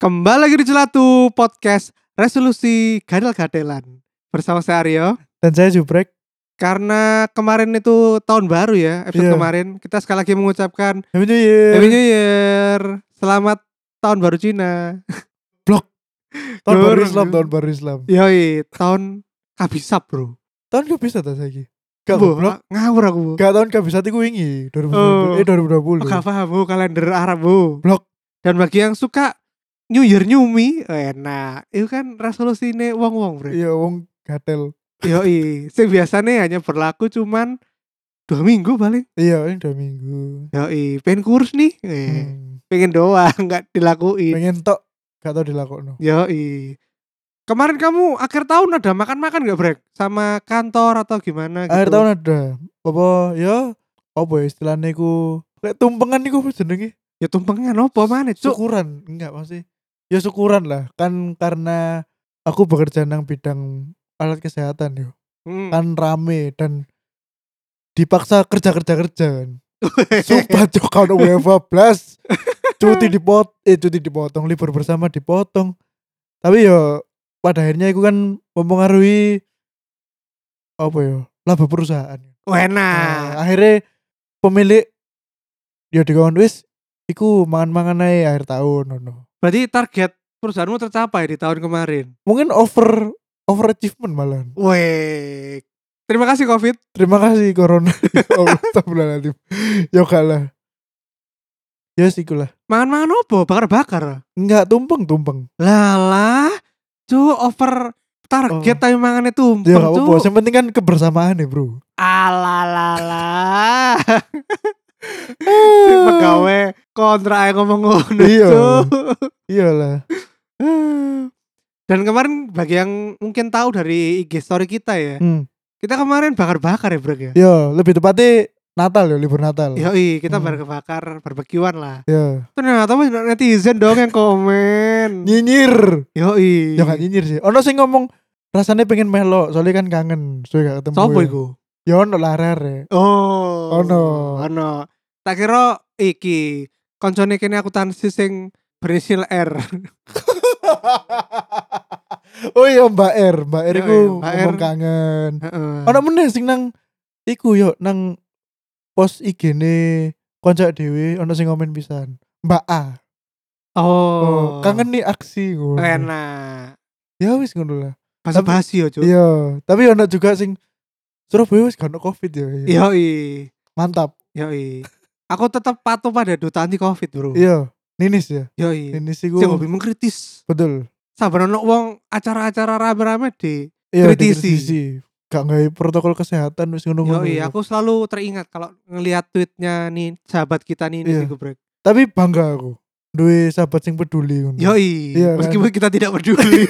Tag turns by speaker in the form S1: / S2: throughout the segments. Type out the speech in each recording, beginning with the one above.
S1: Kembali lagi di Celatu Podcast Resolusi Gadel-Gadelan Bersama saya Aryo
S2: Dan saya Jubrek.
S1: Karena kemarin itu tahun baru ya Episode
S2: Iya.
S1: kemarin Kita sekali lagi mengucapkan
S2: Happy New Year.
S1: Happy New Year Selamat tahun baru Cina
S2: Tahun baru
S1: Dur.
S2: Islam, tahun baru Islam.
S1: Yoi tahun kabisat bro
S2: Tahun kabisat ta saiki. Gak
S1: Bo,
S2: goblok.
S1: Ngawur aku bu
S2: Gak tahun kabisat iku wingi 2020.
S1: Oh.
S2: Eh 2020.
S1: Gak paham bu kalender Arab bu
S2: Blok.
S1: Dan bagi yang suka New Year New Me Enak Itu kan resolusi ini wong-wong bro
S2: Iya wong gatel.
S1: Yoi Sing biasanya hanya berlaku cuman Dua minggu paling
S2: Iya, ini udah minggu.
S1: Yoi Pengen kurus nih eh.
S2: Hmm.
S1: Pengen doang Gak dilakuin
S2: Pengen tok gak tau dilakokno.
S1: Yoi Kemarin kamu akhir tahun ada makan-makan gak Brek? Sama kantor atau gimana gitu?
S2: Akhir tahun ada. Apa ya? Apa ya istilahnya iku? Lek tumpengan niku apa jenenge?
S1: Ya tumpengan apa mana cuk
S2: Syukuran. Enggak maksudnya. Ya syukuran lah kan karena aku bekerja nang bidang alat kesehatan yo.
S1: Hmm.
S2: kan rame dan dipaksa kerja kerja kerja kan sumpah cok kalau WFA plus cuti dipot eh cuti dipotong libur bersama dipotong tapi yo pada akhirnya itu kan mempengaruhi apa yo laba perusahaan
S1: Wah, enak
S2: Nah, akhirnya pemilik ya di wis iku mangan mangan aja akhir tahun ngono.
S1: Berarti target perusahaanmu tercapai di tahun kemarin.
S2: mungkin over over achievement malah
S1: Weh. Terima kasih Covid.
S2: Terima kasih Corona. Ya Allah astagfirullahaladzim. Yo kalah. Ya yes, ikulah.
S1: Makan-makan apa? Bakar-bakar.
S2: Enggak tumpeng tumpeng.
S1: Lala. Cu over target
S2: Oh.
S1: tapi mangannya tumpeng
S2: Ya enggak
S1: cu.
S2: apa-apa. Yang penting kan kebersamaan ya, Bro.
S1: Alalala. Si pegawai kontra yang ngomong ngono
S2: Iya.
S1: cu.
S2: Iyalah.
S1: Dan kemarin bagi yang mungkin tahu dari IG story kita ya.
S2: Hmm.
S1: Kita kemarin bakar-bakar ya Bro ya.
S2: Yo, lebih tepatnya Natal ya, libur Natal. Yo.
S1: Yoi, kita
S2: Hmm.
S1: bakar-bakar, barbekyuan lah.
S2: Ya.
S1: Ternyata mas netizen dong yang komen.
S2: Nyinyir.
S1: Yoi.
S2: Ya enggak nyinyir sih. Ono sing ngomong rasanya pengen melo, soalnya kan kangen. Soalnya enggak ketemu.
S1: Sopo
S2: ya.
S1: iku?
S2: Ya ono lah rare.
S1: Oh.
S2: Ono.
S1: Ono. Tak kira iki koncone kene aku tansi sing berinisial R.
S2: oh iya Mbak R, Mbak R
S1: Yo,
S2: iku
S1: iya, Mbak R.
S2: ngomong kangen.
S1: Heeh.
S2: ana Hmm. meneh sing nang iku yo nang pos IG ne konco dhewe ana sing komen pisan Mbak A
S1: Oh.
S2: kangen nih aksi ngono
S1: Enak.
S2: ya wis ngono lah
S1: Bahasa basi yo, Cuk.
S2: iya tapi ana juga sing Surabaya wis gak ono covid ya iya.
S1: Yoi.
S2: mantap
S1: Yoi. Aku tetap patuh pada duta anti covid, Bro.
S2: iya ninis ya
S1: Yoi.
S2: ninis iku
S1: Sing hobi mengkritis.
S2: betul
S1: Sabar ono wong acara-acara rame-rame di.
S2: iya
S1: Kritisi.
S2: dikritisi. iya. gak nggak protokol kesehatan wis ngono ngono
S1: Yoi, aku selalu teringat kalau ngelihat tweetnya nih sahabat kita nih
S2: Iya.
S1: yeah. Bro.
S2: tapi bangga aku duwe sahabat sing peduli ngono
S1: Yoi,
S2: Iya kan?
S1: meskipun kita tidak peduli,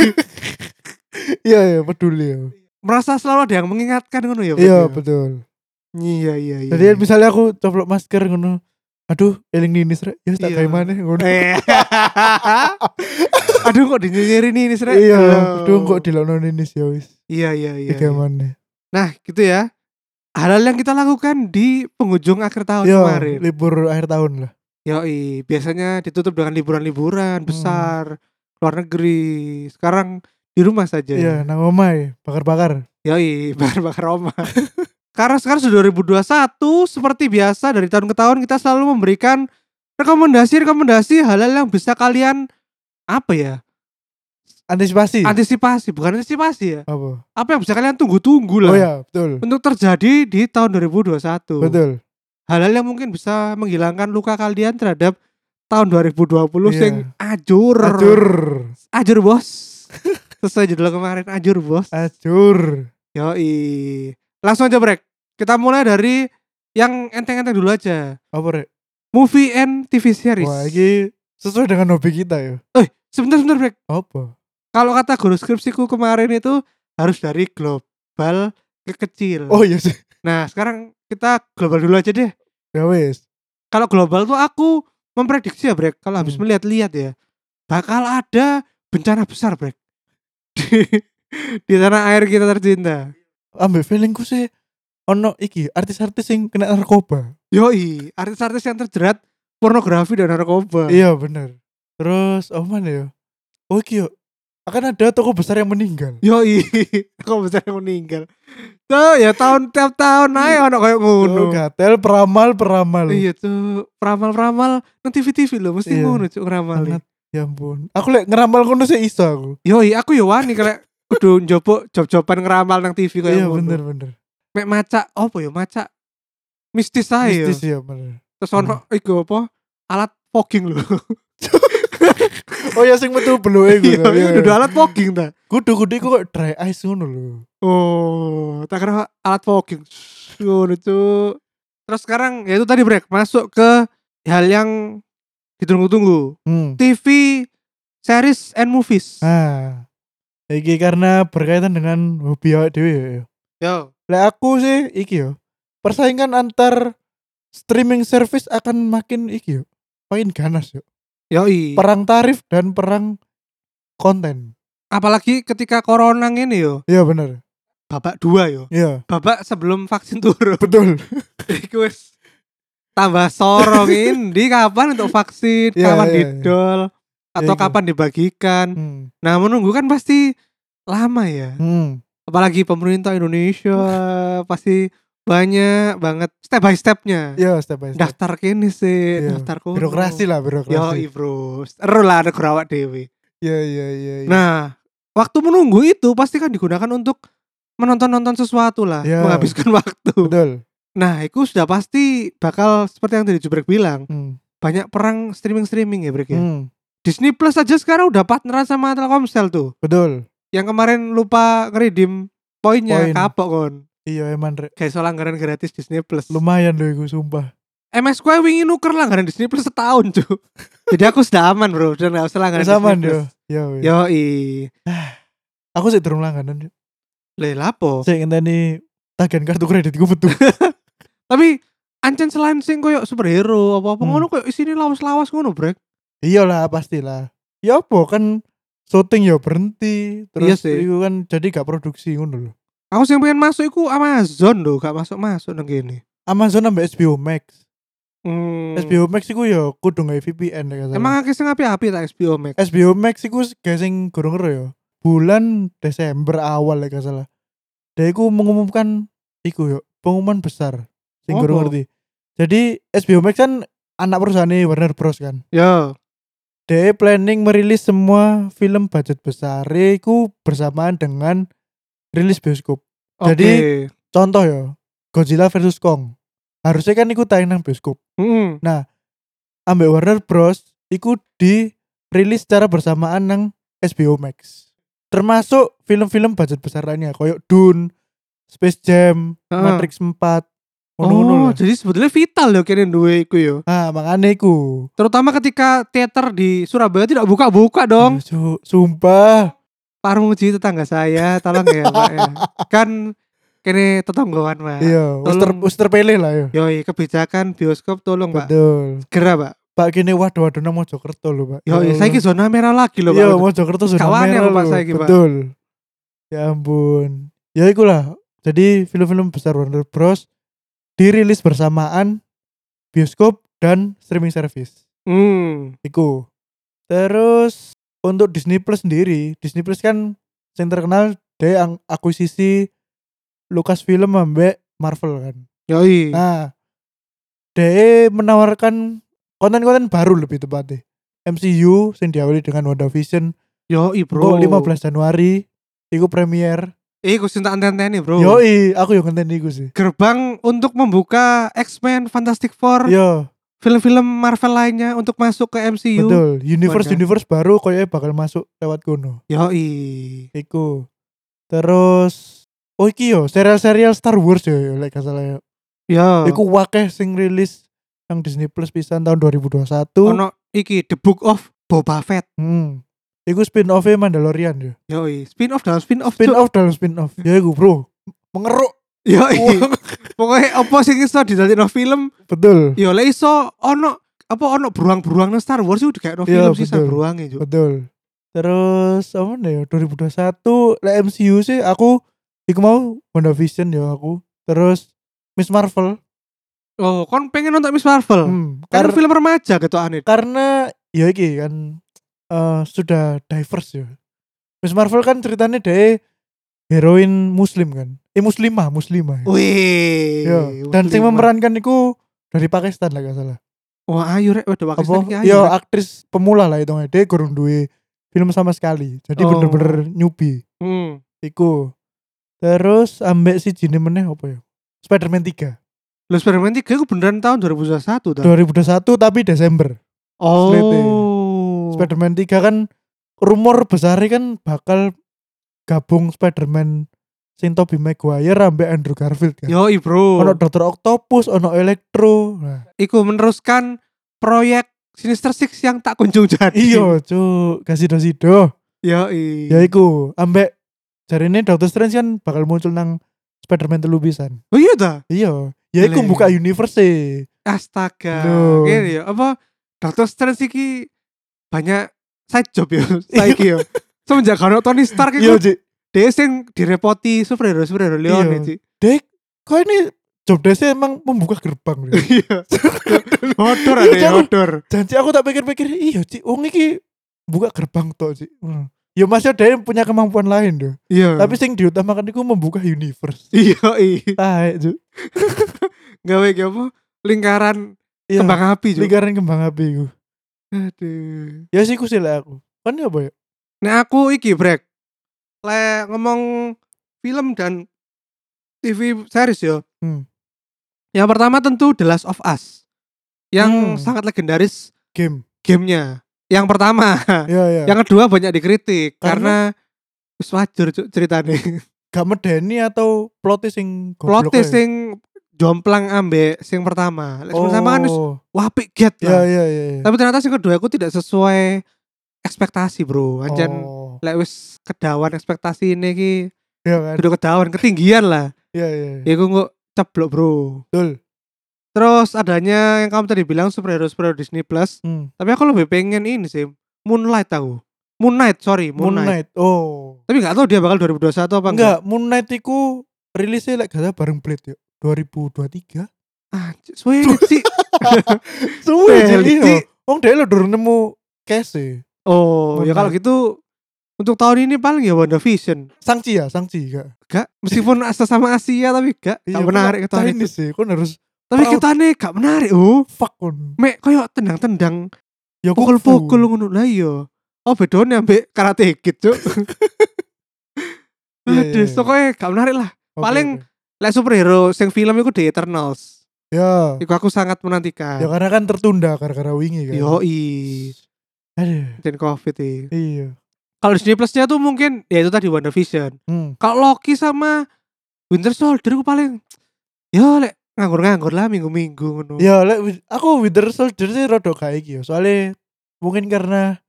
S2: iya iya peduli ya
S1: merasa selalu ada yang mengingatkan ngono ya. Bro,
S2: iya
S1: ya?
S2: betul
S1: Iya, iya, iya.
S2: Jadi misalnya aku coplok masker ngono. Aduh, eling ninis rek. Ya tak
S1: Iya.
S2: kayak mana ngono.
S1: Eh. Aduh kok dinyinyirin nih ini Srek?
S2: Iya,
S1: Aduh.
S2: aduh kok dilokno ninis ya wis.
S1: Iya, iya, iya. iya.
S2: Kayak mana.
S1: Nah, gitu ya. Hal-hal yang kita lakukan di penghujung akhir tahun
S2: Yo,
S1: kemarin.
S2: Iya, libur akhir tahun lah.
S1: Yoi, biasanya ditutup dengan liburan-liburan
S2: Hmm.
S1: besar, luar negeri. Sekarang di rumah saja.
S2: Iya, nang omah bakar-bakar.
S1: Yoi, bakar-bakar Roma. Karena sekarang sudah 2021, seperti biasa dari tahun ke tahun kita selalu memberikan rekomendasi-rekomendasi hal-hal yang bisa kalian apa ya?
S2: Antisipasi.
S1: Antisipasi, bukan antisipasi ya.
S2: Apa?
S1: Apa yang bisa kalian tunggu-tunggu lah
S2: Oh ya, betul.
S1: untuk terjadi di tahun 2021.
S2: Betul.
S1: Hal-hal yang mungkin bisa menghilangkan luka kalian terhadap tahun 2020
S2: Iya.
S1: sing ajur.
S2: Ajur.
S1: Ajur, Bos. Sesuai judul kemarin ajur, Bos.
S2: Eh. Ajur.
S1: Yoi. Langsung aja break. Kita mulai dari yang enteng-enteng dulu aja.
S2: Apa rek?
S1: Movie and TV series.
S2: Wah, ini sesuai dengan hobi kita ya.
S1: Eh, sebentar-sebentar break.
S2: Apa?
S1: Kalau kata guru skripsiku kemarin itu harus dari global ke kecil.
S2: Oh iya sih.
S1: Nah, sekarang kita global dulu aja deh.
S2: ya wes
S1: Kalau global tuh aku memprediksi ya, Brek. Kalau habis
S2: Hmm.
S1: melihat-lihat ya, bakal ada bencana besar, Brek. Di, di tanah air kita tercinta.
S2: ambil feelingku sih ono iki artis-artis yang kena narkoba
S1: Yoi, artis-artis yang terjerat pornografi dan narkoba.
S2: iya bener terus oh mana ya oh iki yo akan ada toko besar yang meninggal
S1: Yoi, kok besar yang meninggal. Tuh ya tahun tiap tahun naik ono kayak ngono.
S2: Oh, gatel peramal peramal
S1: Iya tuh peramal-peramal nang TV-TV loh mesti
S2: Iya.
S1: ngono cuk e. ngramali.
S2: Sangat. ya ampun aku lek ngeramal kono sih iso aku
S1: Yoi, aku yo wani kayak kudu njopok job-joban ngeramal nang TV kayak
S2: iya
S1: ngono.
S2: bener bener
S1: Mek maca opo yo maca mistis ae yo.
S2: mistis ya bener
S1: Terus ono iku apa? Alat fogging lho.
S2: oh ya sing metu belu iku
S1: Iya,
S2: to, iya,
S1: iya, dudu
S2: iya.
S1: alat fogging ta.
S2: kudu kudu iku kok dry ice ngono lho
S1: Oh, tak kira alat fogging. Ngono cuk. Terus sekarang ya itu tadi break masuk ke hal yang ditunggu-tunggu.
S2: hmm.
S1: TV series and movies.
S2: ah iki karena berkaitan dengan hobi awake dhewe ya, ya
S1: Yo.
S2: Lah aku sih iki yo. Persaingan antar streaming service akan makin iki yo. Makin ganas yo.
S1: Yoi.
S2: Perang tarif dan perang konten.
S1: apalagi ketika corona ini yo
S2: Iya bener.
S1: babak dua yo
S2: Iya,
S1: babak sebelum vaksin turun
S2: betul.
S1: Iku wis tambah sorong ini kapan untuk vaksin
S2: Iya,
S1: kapan
S2: iya, iya.
S1: didol atau
S2: iku.
S1: kapan dibagikan
S2: Hmm.
S1: nah menunggu kan pasti lama ya
S2: Hmm.
S1: apalagi pemerintah Indonesia pasti banyak banget step by stepnya
S2: Iya, step by step.
S1: daftar kini sih
S2: Iya.
S1: daftar kono
S2: Birokrasi lah,
S1: yo
S2: birokrasi.
S1: bro seru lah negara awak dewi
S2: Iya, iya, iya. iya.
S1: Nah, waktu menunggu itu pasti kan digunakan untuk menonton-nonton sesuatu lah,
S2: Ya.
S1: menghabiskan waktu.
S2: betul.
S1: Nah, itu sudah pasti bakal seperti yang tadi Jubrek bilang,
S2: Hmm.
S1: banyak perang streaming-streaming ya, Brek ya.
S2: Hmm.
S1: Disney Plus aja sekarang udah partneran sama Telkomsel tuh.
S2: Betul.
S1: Yang kemarin lupa ngeredeem poinnya,
S2: Poin.
S1: kapok kon.
S2: Iya, emang Rek.
S1: Kayak soal langgaran gratis Disney Plus.
S2: lumayan loh iku sumpah.
S1: MS Square wingi nuker langgaran Disney Plus setahun, cuy. Jadi aku sudah aman, Bro. Udah enggak usah langganan
S2: Sama
S1: Disney
S2: yo.
S1: Plus.
S2: Iya, weh.
S1: Yoi.
S2: Aku sih durung langganan. yo.
S1: Leh, lapo?
S2: Saya ngenteni tagihan kartu kreditku betul.
S1: tapi ancen selain sing koyo superhero apa apa
S2: Hmm.
S1: ngono koyo isine lawas-lawas ngono brek
S2: iyalah Iya pastilah ya apa kan syuting ya
S1: Iya
S2: berhenti terus
S1: sih.
S2: itu kan jadi gak produksi ngono loh
S1: aku sing pengen masuk iku Amazon lho gak masuk-masuk nang kene
S2: Amazon sampai HBO Max
S1: hmm.
S2: HBO Max iku ya kudu nggak VPN nek gak salah.
S1: emang akeh sing api-api tak HBO Max
S2: HBO Max iku gak sing gurung ngero ya bulan Desember awal nek gak salah dia iku mengumumkan iku yo pengumuman besar sing
S1: Apa?
S2: gurung ngerti jadi HBO Max kan anak perusahaan Warner Bros kan
S1: yo
S2: Dia planning merilis semua film budget besar itu bersamaan dengan rilis bioskop. Jadi,
S1: Oke.
S2: Contoh ya, Godzilla versus Kong. Harusnya kan ikut tayang nang bioskop.
S1: Mm-mm.
S2: Ambek Warner Bros. Iku di rilis secara bersamaan nang HBO Max. Termasuk film-film budget besar lainnya, koyok Dune, Space Jam,
S1: Heeh.
S2: Matrix 4, ngono-ngono
S1: Ah. oh
S2: lah.
S1: jadi sebetulnya vital loh kene duwe iku yo
S2: Nah, makanya iku.
S1: terutama ketika teater di Surabaya tidak buka-buka dong
S2: Aduh, Iya, su- Sumpah.
S1: Parmuji tetangga saya tolong ya pak ya. kan kene tetanggaan pak
S2: Iya, wis ter-
S1: tolong.
S2: wis terpilih lah ya.
S1: yoi kebijakan bioskop tolong pak
S2: Betul.
S1: segera pak
S2: Pak kini waduh waduh nang Mojokerto lho Pak.
S1: Yo, iya,
S2: Ya
S1: saya zona merah lagi loh
S2: Allah. Iya,
S1: Pak.
S2: Mojokerto zona
S1: Kawannya
S2: merah
S1: lho, Pak,
S2: lho.
S1: saiki, Pak.
S2: Betul. Ya ampun. Ya ikulah. Jadi film-film besar Warner Bros dirilis bersamaan bioskop dan streaming service.
S1: Hmm.
S2: Iku. Terus untuk Disney Plus sendiri, Disney Plus kan yang terkenal dia yang akuisisi Lucasfilm ambek Marvel kan.
S1: Yoi.
S2: Nah, DE menawarkan konten-konten baru lebih tepatnya. MCU yang diawali dengan WandaVision
S1: Yoi,
S2: Bro.
S1: Bro.
S2: 15 Januari iku premier.
S1: Eh, gue cinta anten-anteni, Bro.
S2: Yoi, aku yang ngenteni iku sih.
S1: Gerbang untuk membuka X-Men, Fantastic Four,
S2: Yo,
S1: film-film Marvel lainnya untuk masuk ke MCU.
S2: betul. Universe
S1: Wadah.
S2: universe baru kayaknya bakal masuk lewat kono.
S1: Yoi.
S2: Iku. Terus Oh iki yo, serial-serial Star Wars yo, yo lek gak salah yo.
S1: Yo.
S2: Iku wakeh sing rilis yang Disney Plus pisan tahun 2021.
S1: Ono iki The Book of Boba Fett.
S2: Hmm. Iku spin-off-e Mandalorian yo.
S1: Yoi. Spin off dalam spin off.
S2: spin off dalam spin off ya gue bro mengeruk
S1: Yo,
S2: Uang.
S1: pokoknya apa sing iso didadekno film,
S2: betul
S1: yo lek iso ono apa ono beruang-beruang nang Star Wars itu kayak no
S2: Iya,
S1: film sih
S2: betul.
S1: beruangnya Cuk.
S2: betul terus apa nih ya 2021 lah MCU sih aku iku mau WandaVision ya aku terus Miss Marvel
S1: Oh, kon pengen nonton Miss Marvel?
S2: Hmm,
S1: Kan
S2: kar-
S1: film remaja gitu aneh.
S2: karena ya iki kan eh, sudah diverse ya Miss Marvel kan ceritanya deh heroin muslim kan eh muslimah muslimah ya.
S1: Wih.
S2: Yo, dan sing
S1: muslimah.
S2: memerankan itu dari Pakistan lah gak salah
S1: Wah, ayo rek waduh
S2: apa Iya.
S1: Pakistan iki ya? ayo.
S2: yo
S1: rek.
S2: aktris pemula lah hitungnya dia kurang duwe film sama sekali jadi
S1: Oh.
S2: bener-bener newbie
S1: Hmm.
S2: iku terus ambek si jine meneh apa ya Spider-Man 3
S1: Lo Spider-Man 3 itu beneran tahun 2021 dah.
S2: 2021 tapi Desember Slate.
S1: Oh.
S2: ya. Spider-Man 3 kan rumor besarnya kan bakal gabung Spider-Man sing Tobey Maguire ambek Andrew Garfield kan.
S1: Yoi bro.
S2: Ono Dr. Octopus, ono Electro. Nah,
S1: Iku meneruskan proyek Sinister Six yang tak kunjung jadi.
S2: iya, cuk, kasido sido.
S1: Yoi.
S2: Ya iku, ambek jarine Doctor Strange kan bakal muncul nang Spider-Man telu pisan.
S1: Oh iya dah.
S2: Iya, ya
S1: Leh.
S2: iku buka universe. e.
S1: Astaga.
S2: Loh.
S1: Gini ya, apa Dr. Strange iki banyak side job ya saiki ya. Semenjak ono Tony Stark
S2: Iya,
S1: iku
S2: Cik.
S1: dhewe sing direpoti superhero-superhero Leon
S2: Iya.
S1: iki.
S2: Dek, kok ini job desk emang membuka gerbang. Cik.
S1: Iya. Hodor ada
S2: Iya,
S1: ya, hodor.
S2: janji aku tak pikir-pikir iya cik wong iki buka gerbang tok cik hmm. ya masih ada yang punya kemampuan lain doh
S1: Iya.
S2: tapi sing diutamakan itu membuka universe
S1: iya iya.
S2: tae cik
S1: Gawe iki apa? Lingkaran
S2: iya
S1: kembang api juga.
S2: lingkaran kembang api iku
S1: Aduh.
S2: ya sih ku sih lah aku kan ya apa ya
S1: Nah aku iki break. Le ngomong film dan TV series yo.
S2: Hmm.
S1: Yang pertama tentu The Last of Us. Yang
S2: Hmm.
S1: sangat legendaris
S2: game
S1: gamenya. Yang pertama.
S2: ya ya yang
S1: Yang kedua banyak dikritik karena,
S2: Karena?
S1: wis wajur cuk ceritane.
S2: gak medeni atau plotnya sing goblok gitu.
S1: Plotnya
S2: ae.
S1: sing jomplang ambe sing pertama. Lek sing pertama kan wis
S2: Oh.
S1: wah apik get lah.
S2: ya ya ya ya.
S1: Tapi ternyata sing kedua aku tidak sesuai ekspektasi, Bro. Anjen
S2: oh.
S1: lek wis kedawan ekspektasi ini ki
S2: ya kan
S1: Udah kedawan ketinggian lah.
S2: ya ya ya.
S1: Ya gue nggak ceblok bro.
S2: betul
S1: Terus adanya yang kamu tadi bilang superhero superhero Disney Plus.
S2: hmm.
S1: Tapi aku lebih pengen ini sih Moonlight aku. Moon Knight sorry Moon,
S2: Moon
S1: Knight.
S2: Knight oh
S1: Tapi nggak tahu dia bakal 2021 apa enggak.
S2: enggak Moon Knight iku rilisnya lek gak salah bareng Blade ya 2023
S1: Anjir, suwe Ah, sih.
S2: Suwe
S1: Beli, Cik.
S2: jadi Wong dhewe lo durung nemu case. e.
S1: Oh,
S2: Moon
S1: ya kalau
S2: Knight.
S1: gitu untuk tahun ini paling ya WandaVision.
S2: Sangci ya, sangci gak.
S1: Gak, meskipun sesama Asia tapi gak, gak menarik
S2: Iya, tahun
S1: ketuaan itu.
S2: ini sih. e, Kon harus
S1: Tapi
S2: proud.
S1: kita nih gak menarik. Oh,
S2: fuck kon.
S1: mek koyo tendang-tendang,
S2: Ya kung
S1: pukul-pukul
S2: fu.
S1: ngono lah iya. Oh, bedone ambek karate kid, Cuk.
S2: Iya, iya,
S1: Aduh,
S2: iya.
S1: pokoknya gak menarik lah.
S2: Oke,
S1: paling-
S2: oke.
S1: Lek superhero sing film iku The Eternals.
S2: Ya.
S1: Iku aku sangat
S2: Ya
S1: menantikan.
S2: karena kan tertunda gara-gara wingi kan.
S1: Yoi,
S2: Aduh.
S1: dan Covid iki.
S2: Iya.
S1: Kalau Disney Plus-nya tuh mungkin ya itu tadi WandaVision.
S2: Hmm.
S1: Kalau Loki sama Winter Soldier ku paling yo lek nganggur-nganggur lah minggu-minggu ngono.
S2: Ya lek wi- aku Winter Soldier sih rada gak iki ya. Soale mungkin karena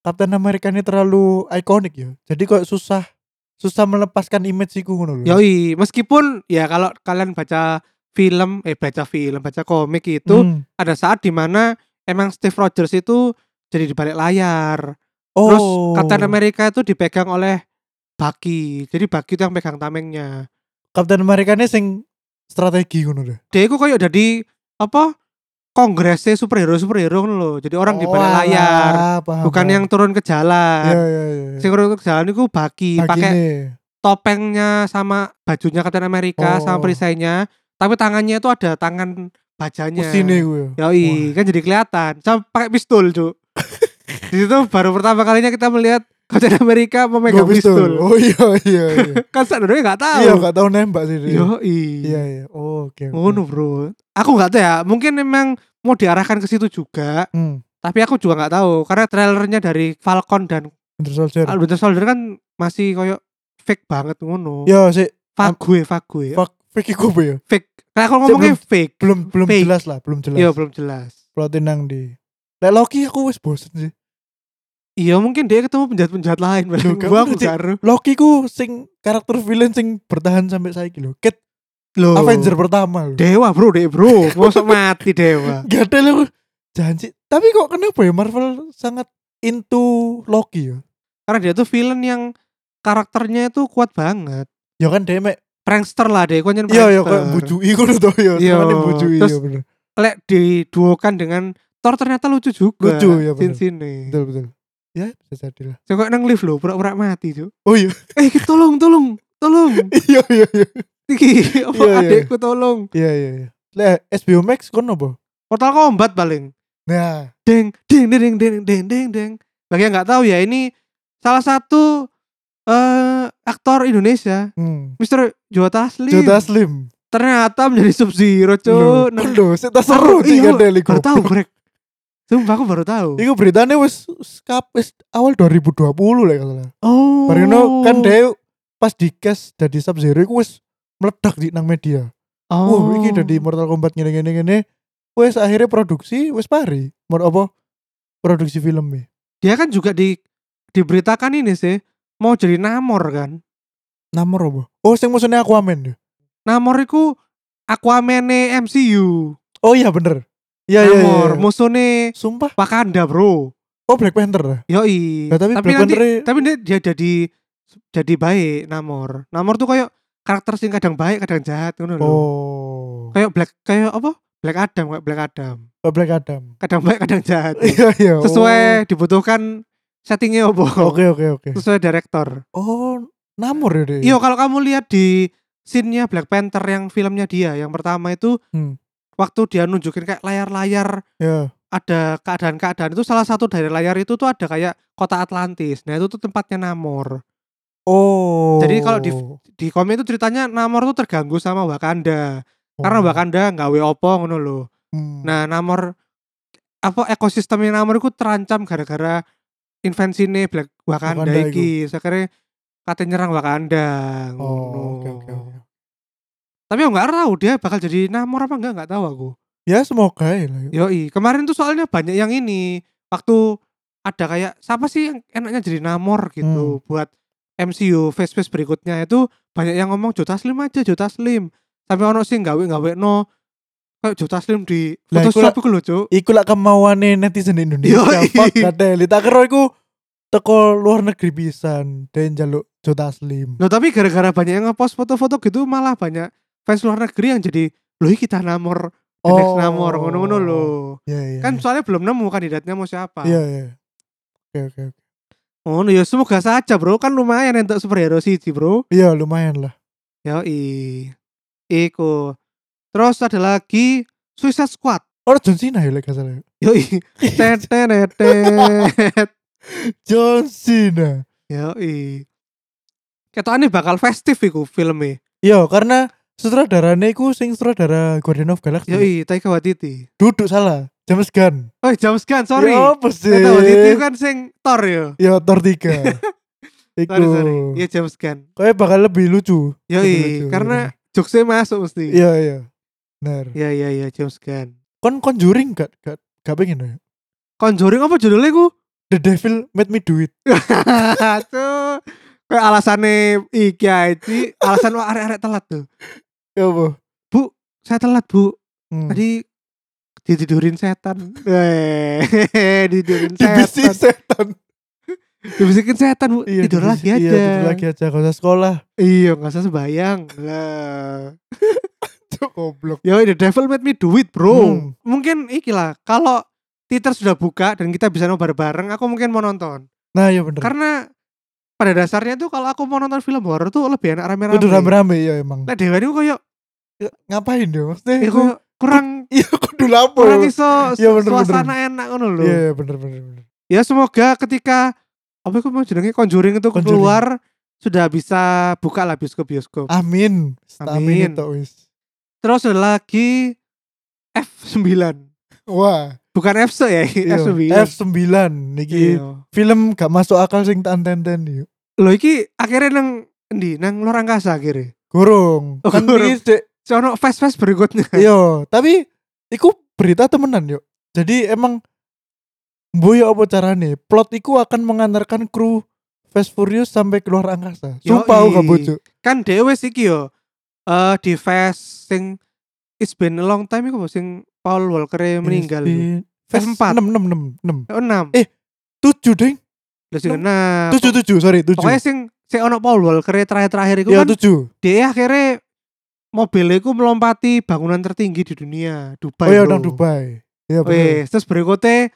S2: Captain America ini terlalu ikonik ya. Jadi kok susah susah melepaskan image iku ngono lho.
S1: Yoi, meskipun ya kalau kalian baca film eh baca film, baca komik itu
S2: Hmm.
S1: ada saat dimana emang Steve Rogers itu jadi di balik layar.
S2: Oh.
S1: Terus Captain America itu dipegang oleh Bucky. Jadi Bucky itu yang pegang tamengnya.
S2: Captain America ini sing strategi ngono lho.
S1: Dia itu kayak jadi apa? Kongresnya superhero superhero loh. Jadi orang di
S2: Oh,
S1: balik
S2: alah,
S1: layar,
S2: paham,
S1: bukan
S2: paham.
S1: yang turun ke
S2: ya
S1: jalan.
S2: ya ya. ya.
S1: Sing turun ke jalan itu Bucky,
S2: Pagi
S1: pakai
S2: nih.
S1: topengnya sama bajunya Captain America sama
S2: Oh.
S1: perisainya, tapi tangannya itu ada tangan bajanya.
S2: Pusine ya. gue.
S1: Yoi, kan jadi kelihatan. Sama pakai pistol, Cuk. Di situ baru pertama kalinya kita melihat Captain America memegang
S2: Gue
S1: pistol.
S2: Oh iya iya iya.
S1: kan sadurunge gak tahu.
S2: Iya gak tahu nembak sih. dia.
S1: Yo i.
S2: Iya iya. Oh, Oke. oke.
S1: Ngono, Bro. Aku nggak tahu ya, mungkin memang mau diarahkan ke situ juga,
S2: Hmm.
S1: tapi aku juga nggak tahu karena trailernya dari Falcon dan
S2: Winter Soldier.
S1: Winter Soldier kan masih koyo fake banget ngono.
S2: Ya sih.
S1: Fague, fague.
S2: Fuck. Vicky Kobe ya.
S1: Fake. Kayak aku ngomongnya
S2: belum-
S1: fake.
S2: Belum belum
S1: Fake.
S2: jelas lah. Belum
S1: Iya,
S2: jelas.
S1: belum jelas.
S2: Plotin nang di. Lek Loki aku wis bosen sih.
S1: Iya, mungkin dia ketemu penjahat-penjahat lain. Gua
S2: Loh, kamu
S1: aku
S2: udah-
S1: gak ero.
S2: Loki ku sing karakter villain sing bertahan sampai saiki lho. Kate
S1: Loh.
S2: Avenger pertama loh.
S1: Dewa bro, deh bro. Mosok mati dewa.
S2: Gak ada loh janji. Tapi kok kenapa ya Marvel sangat into Loki ya?
S1: Karena dia tuh villain yang karakternya itu kuat banget.
S2: Ya kan demek.
S1: Prankster lah deh, konyen prankster.
S2: Iya ya kayak bujui ngono to ya.
S1: Iya.
S2: Iya, bujui
S1: Terus-
S2: ya bener.
S1: Lek diduokan dengan Thor ternyata lucu juga.
S2: Lucu, ya, bener.
S1: Sini.
S2: Betul betul. Ya, bisa jadi lah.
S1: Coba nang lift loh, pura-pura mati tuh.
S2: Oh iya.
S1: Eh, tolong, tolong, tolong.
S2: Iya iya iya.
S1: Iki, apa
S2: Iya, iya.
S1: adekku tolong.
S2: Iya iya iya. Lah SBO Max kono apa?
S1: Mortal Kombat paling.
S2: Nah,
S1: Deng, deng, deng, deng, deng, deng, deng, deng. Bagi yang nggak tahu ya, ini salah satu eh aktor Indonesia,
S2: hmm.
S1: Mr. Joe Taslim.
S2: Jota Slim.
S1: Ternyata menjadi Sub Zero,
S2: Loh,
S1: cuy. Nang-
S2: Loh, sita nah. seru
S1: Aku- iya,
S2: tiga deli
S1: Baru tahu, Greg. Sumpah aku baru tahu.
S2: Iku beritanya wis skap wis awal 2020 lah kalau salah.
S1: Oh.
S2: Barino kan dia pas di cast dari Sub Zero iku wis meledak di nang media.
S1: Oh.
S2: Wah, iki dari Mortal Kombat ngene ngene ngene. Wis akhirnya produksi wis pari. Mau apa? Produksi e. filmnya.
S1: Dia kan juga di diberitakan ini sih mau jadi Namor kan.
S2: Namor apa? Oh, sing musuhnya Aquaman ya.
S1: Namor iku Aquaman-e MCU.
S2: Oh iya bener. Iya iya iya.
S1: Namor
S2: iya.
S1: musuhnya
S2: Sumpah.
S1: Wakanda, Bro.
S2: Oh Black Panther. lah.
S1: Yoi.
S2: Nah, tapi Black
S1: nanti
S2: Panther-
S1: tapi dia, dia jadi jadi baik Namor. Namor tuh kayak karakter sing kadang baik, kadang jahat ngono lho.
S2: Oh.
S1: Kayak Black kayak apa? Black Adam, kayak Black Adam.
S2: Oh, Black Adam.
S1: Kadang baik, kadang jahat.
S2: Iya iya. oh.
S1: Sesuai dibutuhkan settingnya opo.
S2: Oke oke oke.
S1: Sesuai direktor.
S2: Oh, Namor ya dia.
S1: Iya, kalau kamu lihat di scene-nya Black Panther yang filmnya dia yang pertama itu
S2: Hmm.
S1: waktu dia nunjukin kayak layar-layar
S2: Iya.
S1: ada keadaan-keadaan itu salah satu dari layar itu tuh ada kayak kota Atlantis. Nah, itu tuh tempatnya Namor.
S2: Oh.
S1: Jadi kalau di- Di komik itu ceritanya Namor tuh terganggu sama Wakanda. Karena Wakanda nggak we opo ngono lho.
S2: Oh. Hmm.
S1: Nah, Namor apa ekosistemnya Namor itu terancam gara-gara invensi nih Black Wakanda,
S2: Wakanda
S1: iki. Akhirnya katanya nyerang Wakanda. ngono.
S2: Oh, oke oke oke.
S1: Tapi aku nggak tahu dia bakal jadi Namor apa enggak nggak tahu aku.
S2: Ya semoga ya. lah.
S1: Yoi, kemarin tuh soalnya banyak yang ini waktu ada kayak siapa sih yang enaknya jadi Namor
S2: Hmm.
S1: gitu buat MCU face face berikutnya itu banyak yang ngomong Jota Slim aja Jota Slim tapi ono sih gawe gawe no kayak Jota Slim di
S2: Lah, iku
S1: Photoshop iku lho Cuk.
S2: Iku lah kemauane netizen Indonesia.
S1: Yoi.
S2: Fuck kadeli. Tak kira iku teko luar negeri pisan dan jaluk Jota Slim.
S1: Loh, Nah, tapi gara-gara banyak yang ngepost foto-foto gitu malah banyak fans luar negeri yang jadi loh iki kita Namor the next Namor ngono-ngono lho.
S2: Oh. Iya iya.
S1: Kan soalnya belum nemu kandidatnya mau siapa.
S2: iya iya. Oke oke oke.
S1: Oh, ya semoga saja, Bro. Kan lumayan entuk superhero siji, Bro.
S2: Iya lumayan lah.
S1: Yoi. Iku. Terus ada lagi Suicide Squad.
S2: Oh John Cena ya lek gak salah.
S1: Yoi. Tet, tet, tet, tet.
S2: John Cena.
S1: Yoi. Ketokane bakal festif iku filmnya.
S2: Iya karena sutradarane iku sing sutradara Guardian of Galaxy.
S1: Yoi, Taika Waititi.
S2: Duduk salah. James Gunn.
S1: Oh, James Gunn, sorry.
S2: Ya apa sih?
S1: Taika Waititi kan sing Thor ya.
S2: Ya Thor 3. Iku.
S1: Sorry, sorry. Iya James Gunn.
S2: Kayak bakal lebih lucu.
S1: Yoi,
S2: Lucu,
S1: karena jokesnya masuk mesti.
S2: Iya iya. Benar.
S1: Iya, iya, iya, James Gunn.
S2: Kon Conjuring gak gak gak pengen ya?
S1: Conjuring apa judulnya ku?
S2: The Devil Made Me Do It.
S1: Tuh. Kayak alasannya iki aja. Alasan wah arek-arek telat tuh.
S2: Ya apa?
S1: Saya telat, Bu.
S2: Hmm.
S1: Tadi ditidurin setan. Eh, ditidurin
S2: Dibisik
S1: setan.
S2: setan.
S1: Dibisikin setan, Bu. tidur
S2: dibisik.
S1: lagi aja.
S2: Iya, tidur lagi aja kalau saya sekolah.
S1: Iya, enggak usah sembayang. Lah.
S2: Cuk goblok.
S1: Yo, the devil made me do it, Bro.
S2: Hmm.
S1: Mungkin ikilah kalau teater sudah buka dan kita bisa nobar bareng, aku mungkin mau nonton.
S2: Nah, ya bener.
S1: Karena pada dasarnya tuh kalau aku mau nonton film horor tuh lebih enak rame-rame.
S2: Udah rame-rame ya emang.
S1: Lah Dewa niku koyo
S2: Ya, Ngapain dia maksudnya?
S1: eh, koyo kurang
S2: Iya, kudu lapo.
S1: kurang iso
S2: Iya, bener,
S1: suasana enak ngono lho.
S2: Iya, iya, bener bener bener.
S1: ya semoga ketika apa itu mau jenenge Conjuring itu
S2: Conjuring.
S1: keluar sudah bisa buka lah bioskop-bioskop.
S2: Amin.
S1: Amin.
S2: Amin itu wis.
S1: Terus ada lagi F9.
S2: Wah,
S1: Bukan F ya,
S2: iya. gitu.
S1: F9.
S2: F9 niki
S1: Iya.
S2: film gak masuk akal sing tak iya. tenten yo.
S1: Loh iki akhirnya nang endi? Nang luar angkasa akhirnya.
S2: Gorong.
S1: Oh,
S2: Kan
S1: gorong.
S2: iki dek
S1: Sono fast-fast berikutnya.
S2: Yo, Iya, tapi iku berita temenan yo. Jadi emang mboyo apa carane? Plot iku akan mengantarkan kru Fast Furious sampai keluar angkasa. Sumpah aku
S1: Yoi.
S2: gak bojo.
S1: kan dhewe wis iki yo eh di Fast sing It's been a long time iku apa? sing Paul Walker meninggal. iku.
S2: Fes
S1: Empat.
S2: 6 6 6 6.
S1: Oh, enam.
S2: Eh, 7 ding.
S1: Lah sing
S2: enam.
S1: enam.
S2: 7 7 sorry 7.
S1: Pokoknya sing sing ono Paul Walker terakhir-terakhir iku
S2: ya
S1: kan
S2: 7.
S1: dia akhirnya mobil iku melompati bangunan tertinggi di dunia, Dubai.
S2: Oh ya
S1: bro.
S2: nang Dubai. Iya bener.
S1: Wes, terus berikutnya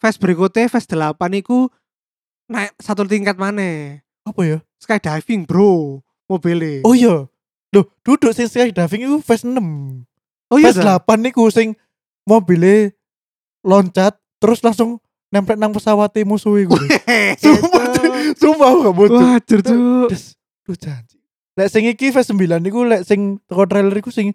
S1: Fast berikutnya Fast 8 iku naik satu tingkat mana?
S2: Apa ya?
S1: Skydiving, Bro. Mobilnya.
S2: Oh iya. Loh, duduk sing skydiving iku fase 6.
S1: Oh
S2: Fase
S1: Sa?
S2: 8 niku sing mobile loncat terus langsung nempel nang pesawat musuh iku. Sumpah, Cuk. Sumpah aku gak bodoh.
S1: Wah, hancur, Cuk.
S2: Des, lu janji. Lek sing iki Fast 9 niku lek sing teko trailer iku sing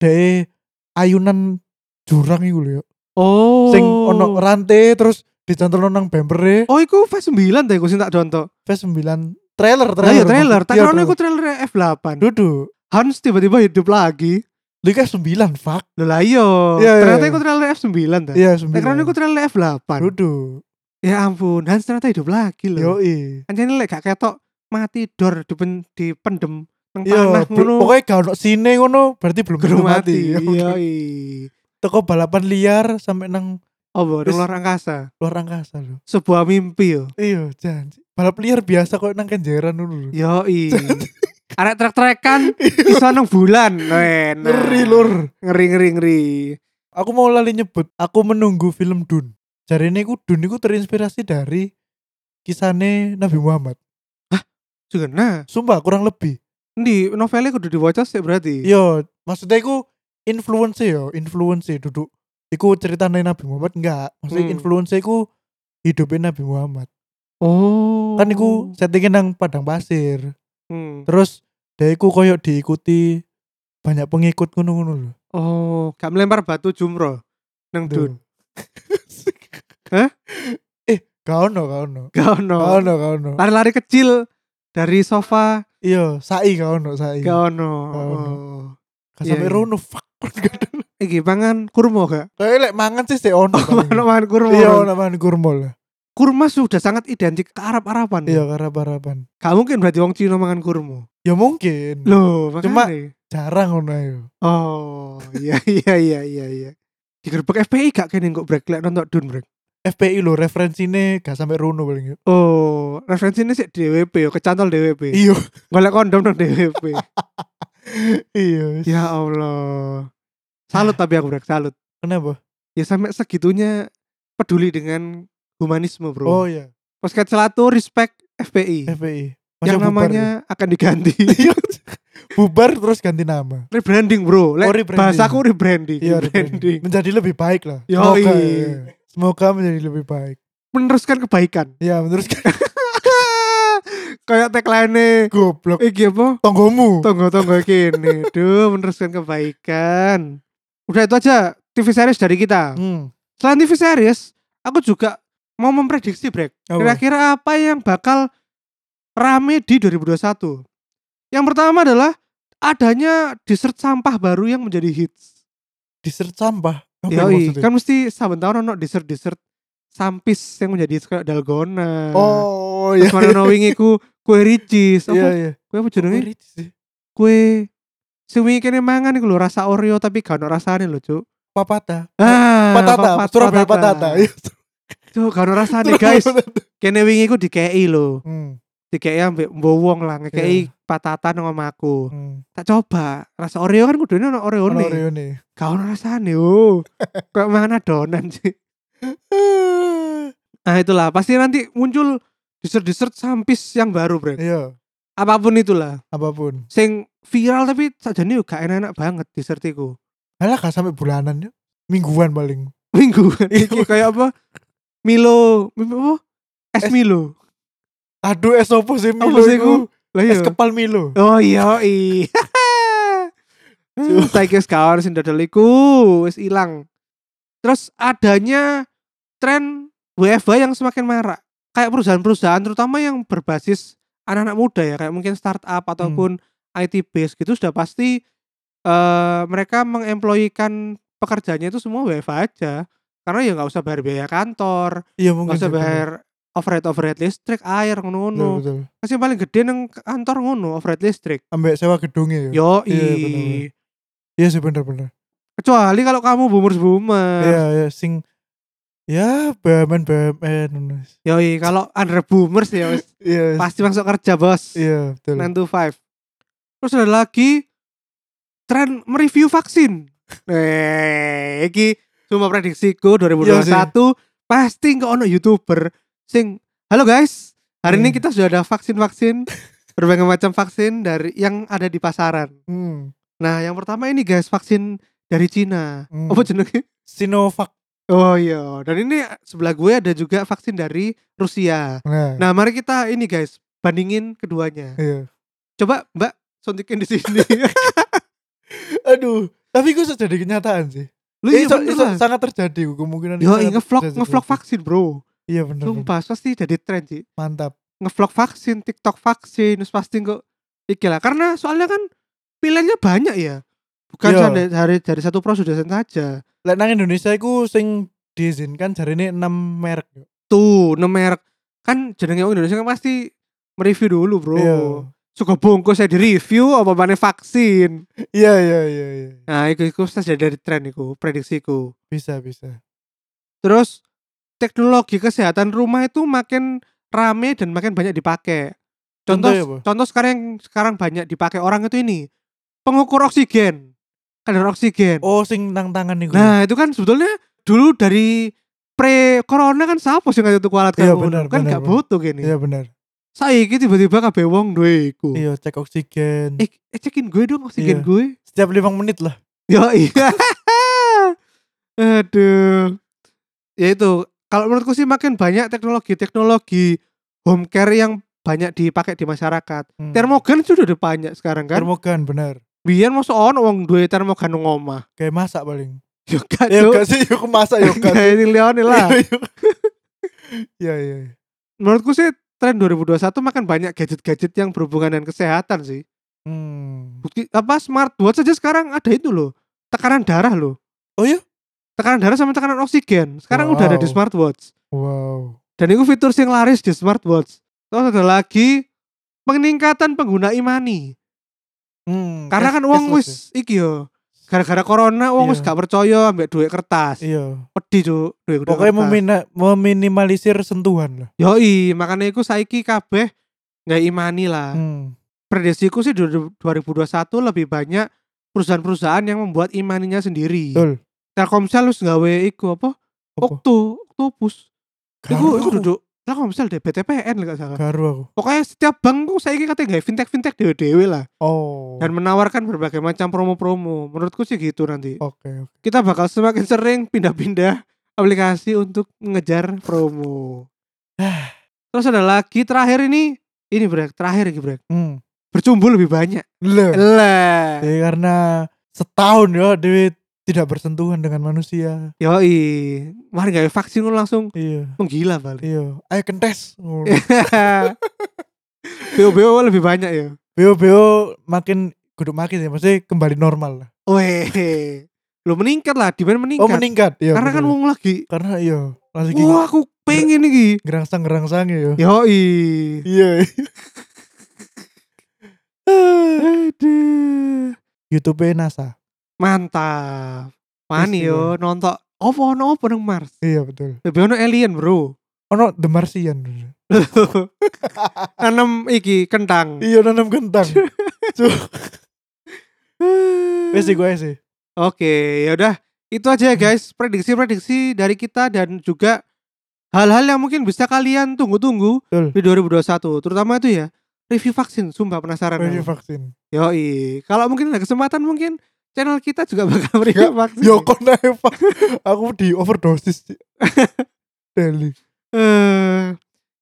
S2: dee ayunan jurang iku lho ya.
S1: Oh.
S2: Sing ono rantai terus dicantol nang bumper
S1: Oh, iku Fast 9 ta iku sing tak dontok.
S2: Fast 9 trailer
S1: Lah
S2: trailer.
S1: ya trailer, tak
S2: Iya,
S1: kira iku trailer F8.
S2: Duduk.
S1: Hans tiba-tiba hidup lagi.
S2: Lu kan 9 fuck.
S1: Loh lah iya.
S2: Iya, iya,
S1: Ternyata
S2: iya.
S1: iku trailer F9 ta.
S2: Iya 9.
S1: Tak kira iku trailer F8.
S2: Duduk.
S1: Ya ampun, Hans ternyata hidup lagi loh.
S2: Yoi.
S1: Anjane lek gak ketok mati dor dipen dipendem nang
S2: Iya,
S1: panah ngono.
S2: bel- pokoknya gak ono sine ngono berarti belum
S1: Gerung mati.
S2: Yo,
S1: Iya.
S2: Teko balapan liar sampai nang
S1: Oh, boh,
S2: Terus-
S1: luar angkasa.
S2: luar angkasa lho.
S1: Sebuah mimpi yo.
S2: Iya, janji. Balap liar biasa kok nang kenjeran ngono
S1: Nah.
S2: lho.
S1: Yoi. Arek trek-trekan iso nang bulan. Weh, nah.
S2: Ngeri lur.
S1: Ngeri ngeri ngeri.
S2: Aku mau lali nyebut, aku menunggu film Dun. Jadi ini ku Dun itu terinspirasi dari kisahnya Nabi Muhammad.
S1: Juga nah,
S2: Sumpah kurang lebih.
S1: di novelnya kudu diwaca sih berarti.
S2: Yo, maksudnya iku influence yo, influence duduk. Iku ceritanya Nabi Muhammad enggak. Maksudnya
S1: Hmm.
S2: influence iku hidupnya Nabi Muhammad.
S1: Oh.
S2: Kan iku settingnya nang padang pasir.
S1: Hmm.
S2: Terus dia iku koyok diikuti banyak pengikut ngono-ngono lho.
S1: Oh, gak melempar batu jumroh nang dun. Hah? Oh.
S2: Hah? Eh, gak ono, gak ono.
S1: Gak
S2: Gak
S1: ono.
S2: ono, gak ono.
S1: Lari-lari kecil dari sofa
S2: Iya, sai gak ono, sai.
S1: gak ono.
S2: Gak ono.
S1: Oh.
S2: Gak
S1: Iya,
S2: sampe
S1: iya.
S2: rono fuck.
S1: Iki pangan kurma gak?
S2: Kayak lek mangan sih sih ono. paling.
S1: Ono Oh, mangan Hmm. kurma.
S2: Iya, ono mangan kurma lah.
S1: kurma sudah sangat identik ke Arab-Araban.
S2: Iya, karapan-karapan.
S1: Gak mungkin berarti wong Cina mangan kurma.
S2: Ya mungkin.
S1: Loh,
S2: Cuma-
S1: makanya.
S2: Jarang ono ayo.
S1: Oh, iya iya iya iya iya. Di gerbek FPI gak kene kok brek lek nonton dun brek.
S2: FPI lho referensine gak sampe rono paling. ya.
S1: Oh, referensinya sih DWP yo, kecantol DWP.
S2: Iya.
S1: Golek kondom nang DWP.
S2: Iya.
S1: ya Allah. Salut tapi aku brek, salut.
S2: Kenapa?
S1: Ya sampai segitunya peduli dengan humanisme, Bro.
S2: Oh iya,
S1: Posket Selatu respect FPI.
S2: FPI.
S1: yang
S2: Masa bubar ya?
S1: namanya akan diganti.
S2: Iya. bubar terus ganti nama.
S1: rebranding, Bro. Lek
S2: Oh, rebranding.
S1: bahasaku rebranding.
S2: Iya, rebranding. menjadi lebih baik lah.
S1: Yoi.
S2: Semoga, iya. Semoga menjadi lebih baik.
S1: meneruskan kebaikan.
S2: Ya, meneruskan
S1: Kayak tagline
S2: goblok
S1: iki apa?
S2: tonggomu.
S1: Tonggo-tonggo kene. Duh, meneruskan kebaikan. Udah itu aja TV series dari kita.
S2: Hmm.
S1: Selain TV series, aku juga mau memprediksi Brek.
S2: Apa?
S1: Kira-kira apa yang bakal rame di 2021? Yang pertama adalah adanya dessert sampah baru yang menjadi hits.
S2: Dessert sampah. Apa yang
S1: Yoi,
S2: maksudnya?
S1: kan mesti saben tahun ono dessert-dessert sampis yang menjadi hits kayak dalgona.
S2: Oh, iya.
S1: Terus Marono Wing iku kue ricis.
S2: Iya,
S1: Apa
S2: iya.
S1: kue apa jenenge?
S2: Apa sih?
S1: Kue sing wingi kene mangan iku lho rasa Oreo tapi gak ono rasane lho, Cuk.
S2: Papata.
S1: Ah,
S2: patata, Surabaya patata. Iya.
S1: Cuk, gak ono rasane, guys. Kene wingi iku dikeki lho.
S2: Hmm,
S1: Dikeki ambek mbok wong lah, ngekeki
S2: Iya.
S1: patata nang omahku.
S2: hmm.
S1: Tak coba. Rasa Oreo kan kudune ono Oreo
S2: Ono
S1: ne.
S2: Oreo nih.
S1: Gak ono rasane, oh. Kayak mangan adonan sih. Nah, itulah pasti nanti muncul dessert-dessert sampis yang baru, Bro.
S2: Iya,
S1: Apapun itulah.
S2: apapun.
S1: sing viral tapi sajane yo gak enak-enak banget dessert iku.
S2: Alah gak sampai bulanan ya. Mingguan paling.
S1: Minggu iki Iya, kayak apa? Milo, Milo apa? Es
S2: Es-
S1: Milo.
S2: Aduh, es opo sih
S1: Apa
S2: Milo
S1: sih
S2: iku?
S1: Lah iya.
S2: Es kepal Milo.
S1: Oh iya i. Saiki wis gak ono sing dodol iku, wis ilang. Terus adanya tren WFA yang semakin marak. Kayak perusahaan-perusahaan terutama yang berbasis anak-anak muda ya, kayak mungkin startup ataupun IT base gitu sudah pasti eh mereka mengemployikan pekerjaannya itu semua WFA aja. Karena ya nggak usah bayar biaya kantor, nggak
S2: Iya mungkin.
S1: usah
S2: sih, bener.
S1: bayar Hmm. overhead overhead listrik air
S2: Betul,
S1: ngono-ngono.
S2: betul.
S1: Kasih paling gede nang kantor ngono overhead listrik.
S2: Ambek sewa gedungnya ya.
S1: Yo
S2: Iya, bener-bener. Iya sih bener-bener.
S1: Kecuali kalau kamu boomers boomer.
S2: Iya, iya sing ya BUMN BUMN. ngono.
S1: Yoi, kalau under boomers ya wis
S2: Iya.
S1: pasti masuk kerja, Bos.
S2: Iya, betul.
S1: 9 to 5. Terus ada lagi tren mereview vaksin. Eh, iki cuma prediksiku 2021
S2: Iya
S1: pasti nggak ono YouTuber sing Halo guys, hari ini
S2: Hmm.
S1: kita sudah ada vaksin-vaksin berbagai macam vaksin dari yang ada di pasaran.
S2: Hmm.
S1: Nah, yang pertama ini guys, vaksin dari Cina.
S2: Hmm.
S1: Apa jenenge?
S2: Sinovac.
S1: Oh iya, dan ini sebelah gue ada juga vaksin dari Rusia.
S2: Nah,
S1: Nah, mari kita ini guys, bandingin keduanya.
S2: iya.
S1: Coba Mbak suntikin di sini.
S2: Aduh, tapi gue jadi kenyataan sih.
S1: Lu
S2: Eh,
S1: iya
S2: so-
S1: bener
S2: so-
S1: lah.
S2: sangat terjadi kemungkinan. ini
S1: Yo,
S2: sangat
S1: ngevlog
S2: terjadi.
S1: ngevlog vaksin, Bro.
S2: Iya bener. bener.
S1: Sumpah, pasti jadi tren sih.
S2: Mantap.
S1: Ngevlog vaksin, TikTok vaksin, terus pasti kok iki lah. Karena soalnya kan pilihannya banyak ya. Bukan
S2: Iya.
S1: dari, dari dari satu pro sudah saja.
S2: Lek nang Indonesia iku sing diizinkan jarine 6 merek. yo.
S1: Tuh, enam merek kan jenenge orang Indonesia kan pasti mereview dulu, Bro.
S2: Iya.
S1: Suka bungkus saya di-review apa mana vaksin.
S2: Iya, iya, iya, iya.
S1: Nah, itu itu saja dari tren itu, prediksiku.
S2: Bisa, bisa.
S1: Terus teknologi kesehatan rumah itu makin rame dan makin banyak dipakai. Contoh
S2: Contohnya apa?
S1: contoh, sekarang yang sekarang banyak dipakai orang itu ini pengukur oksigen, kadar oksigen.
S2: Oh, sing nang tangan niku.
S1: nah, itu kan sebetulnya dulu dari pre corona kan siapa sih nggak tuku alat
S2: Iya,
S1: kayak ngono?
S2: benar,
S1: kan
S2: benar,
S1: nggak
S2: benar.
S1: butuh gini.
S2: iya benar.
S1: Saiki tiba-tiba kabeh wong duwe iku.
S2: Iya, cek oksigen.
S1: Eh, eh, cekin gue dong oksigen
S2: Iya.
S1: gue.
S2: Setiap 5 menit lah.
S1: Ya iya. Aduh. Ya itu, kalau menurutku sih makin banyak teknologi-teknologi home care yang banyak dipakai di masyarakat.
S2: Hmm.
S1: Termogan sudah ada banyak sekarang kan.
S2: Termogan benar.
S1: Biar masuk ono wong duwe termogan nang omah.
S2: Kayak masak paling.
S1: Yo gak
S2: Ya
S1: cuk.
S2: gak sih, Iya. yuk masak yuk
S1: Gak ini liane lah.
S2: Iya, iya. iya.
S1: Menurutku sih tren 2021 makan banyak gadget-gadget yang berhubungan dengan kesehatan sih.
S2: Hmm.
S1: Bukti apa smartwatch saja sekarang ada itu loh. Tekanan darah loh.
S2: Oh iya?
S1: Tekanan darah sama tekanan oksigen. Sekarang udah ada di
S2: Wow.
S1: smartwatch.
S2: Wow.
S1: Dan itu fitur yang laris di smartwatch. Terus ada lagi peningkatan pengguna e-money.
S2: Hmm,
S1: Karena
S2: cash-
S1: kan wong wis
S2: cashless
S1: iki yo. Gara-gara corona wong
S2: Iya.
S1: wis gak percaya ambek duit kertas.
S2: ya. Iya.
S1: Pedih cuk duit duit
S2: Pokoknya
S1: kertas.
S2: memina- meminimalisir sentuhan lah.
S1: Yoi, makanya iku saiki kabeh nggak e-money lah.
S2: Hmm.
S1: Prediksiku sih 2021 lebih banyak perusahaan-perusahaan yang membuat e-money-nya sendiri.
S2: Betul.
S1: Telkomsel wis gawe iku apa?
S2: Apa?
S1: Okto, Octopus. Oh, Iku
S2: Garu
S1: iku
S2: aku.
S1: duduk Telkomsel deh BTPN lek gak salah.
S2: Garu aku.
S1: pokoknya setiap bank tuh saya katanya nggak fintech fintech dewe dewe lah
S2: Oh.
S1: dan menawarkan berbagai macam promo-promo menurutku sih gitu nanti
S2: Oke, oke.
S1: kita bakal semakin sering pindah-pindah aplikasi untuk mengejar promo terus ada lagi terakhir ini ini brek terakhir ini brek
S2: Hmm.
S1: bercumbu lebih banyak
S2: Lho.
S1: lah
S2: Ya, karena setahun ya Dewi tidak bersentuhan dengan manusia.
S1: yoi mari nggak vaksin lu langsung
S2: Iya,
S1: menggila balik
S2: iya. Ayo kentes. Ngono.
S1: BO-BO lebih banyak ya
S2: Beo beo makin kudu makin ya, maksudnya kembali normal lah.
S1: weh lu meningkat lah demand meningkat,
S2: Oh meningkat, iya.
S1: karena kan
S2: betul.
S1: wong lagi
S2: karena iya langsung gini
S1: wah aku pengen nih
S2: gerangsang gerangsang ya.
S1: Yoi.
S2: Iya.
S1: Aduh.
S2: YouTube NASA.
S1: Mantap. Mani
S2: Wis,
S1: yo nonton opo ono opo nang Mars.
S2: Iya betul.
S1: Lebih ono alien, Bro.
S2: Ono Oh, The Martian.
S1: Nanem iki kentang.
S2: iya nanam kentang. Wes sih
S1: Oke,
S2: gue sih.
S1: ya udah. Itu aja ya guys, prediksi-prediksi dari kita dan juga hal-hal yang mungkin bisa kalian tunggu-tunggu
S2: Betul.
S1: di 2021. Terutama itu ya, review vaksin, sumpah penasaran.
S2: Review
S1: aku.
S2: vaksin.
S1: Yoi. Kalau mungkin ada kesempatan mungkin channel kita juga bakal review vaksin.
S2: Yo Ya, kok naik vaksin. Aku di overdosis. Ci. Daily.
S1: eh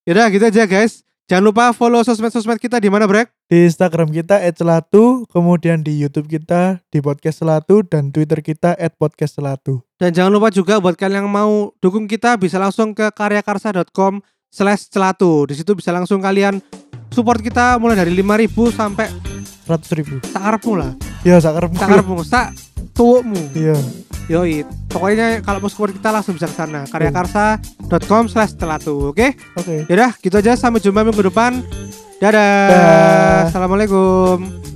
S1: yaudah gitu aja guys. Jangan lupa follow sosmed-sosmed kita di mana Brek.
S2: Di Instagram kita @selatu, kemudian di YouTube kita di podcast selatu dan Twitter kita @podcastselatu.
S1: Dan jangan lupa juga buat kalian yang mau dukung kita bisa langsung ke karyakarsa.com slash celatu. Di situ bisa langsung kalian support kita mulai dari 5000 sampai
S2: 100 ribu.
S1: sakarepmu lah.
S2: Iya, sakar.
S1: Sakarepmu, sak tuwukmu.
S2: Iya.
S1: Yoi. pokoknya kalau mau support kita langsung bisa ke sana karyakarsa.com slash telatu oke
S2: Oke.
S1: yaudah gitu aja sampai jumpa minggu depan dadah
S2: Dah.
S1: assalamualaikum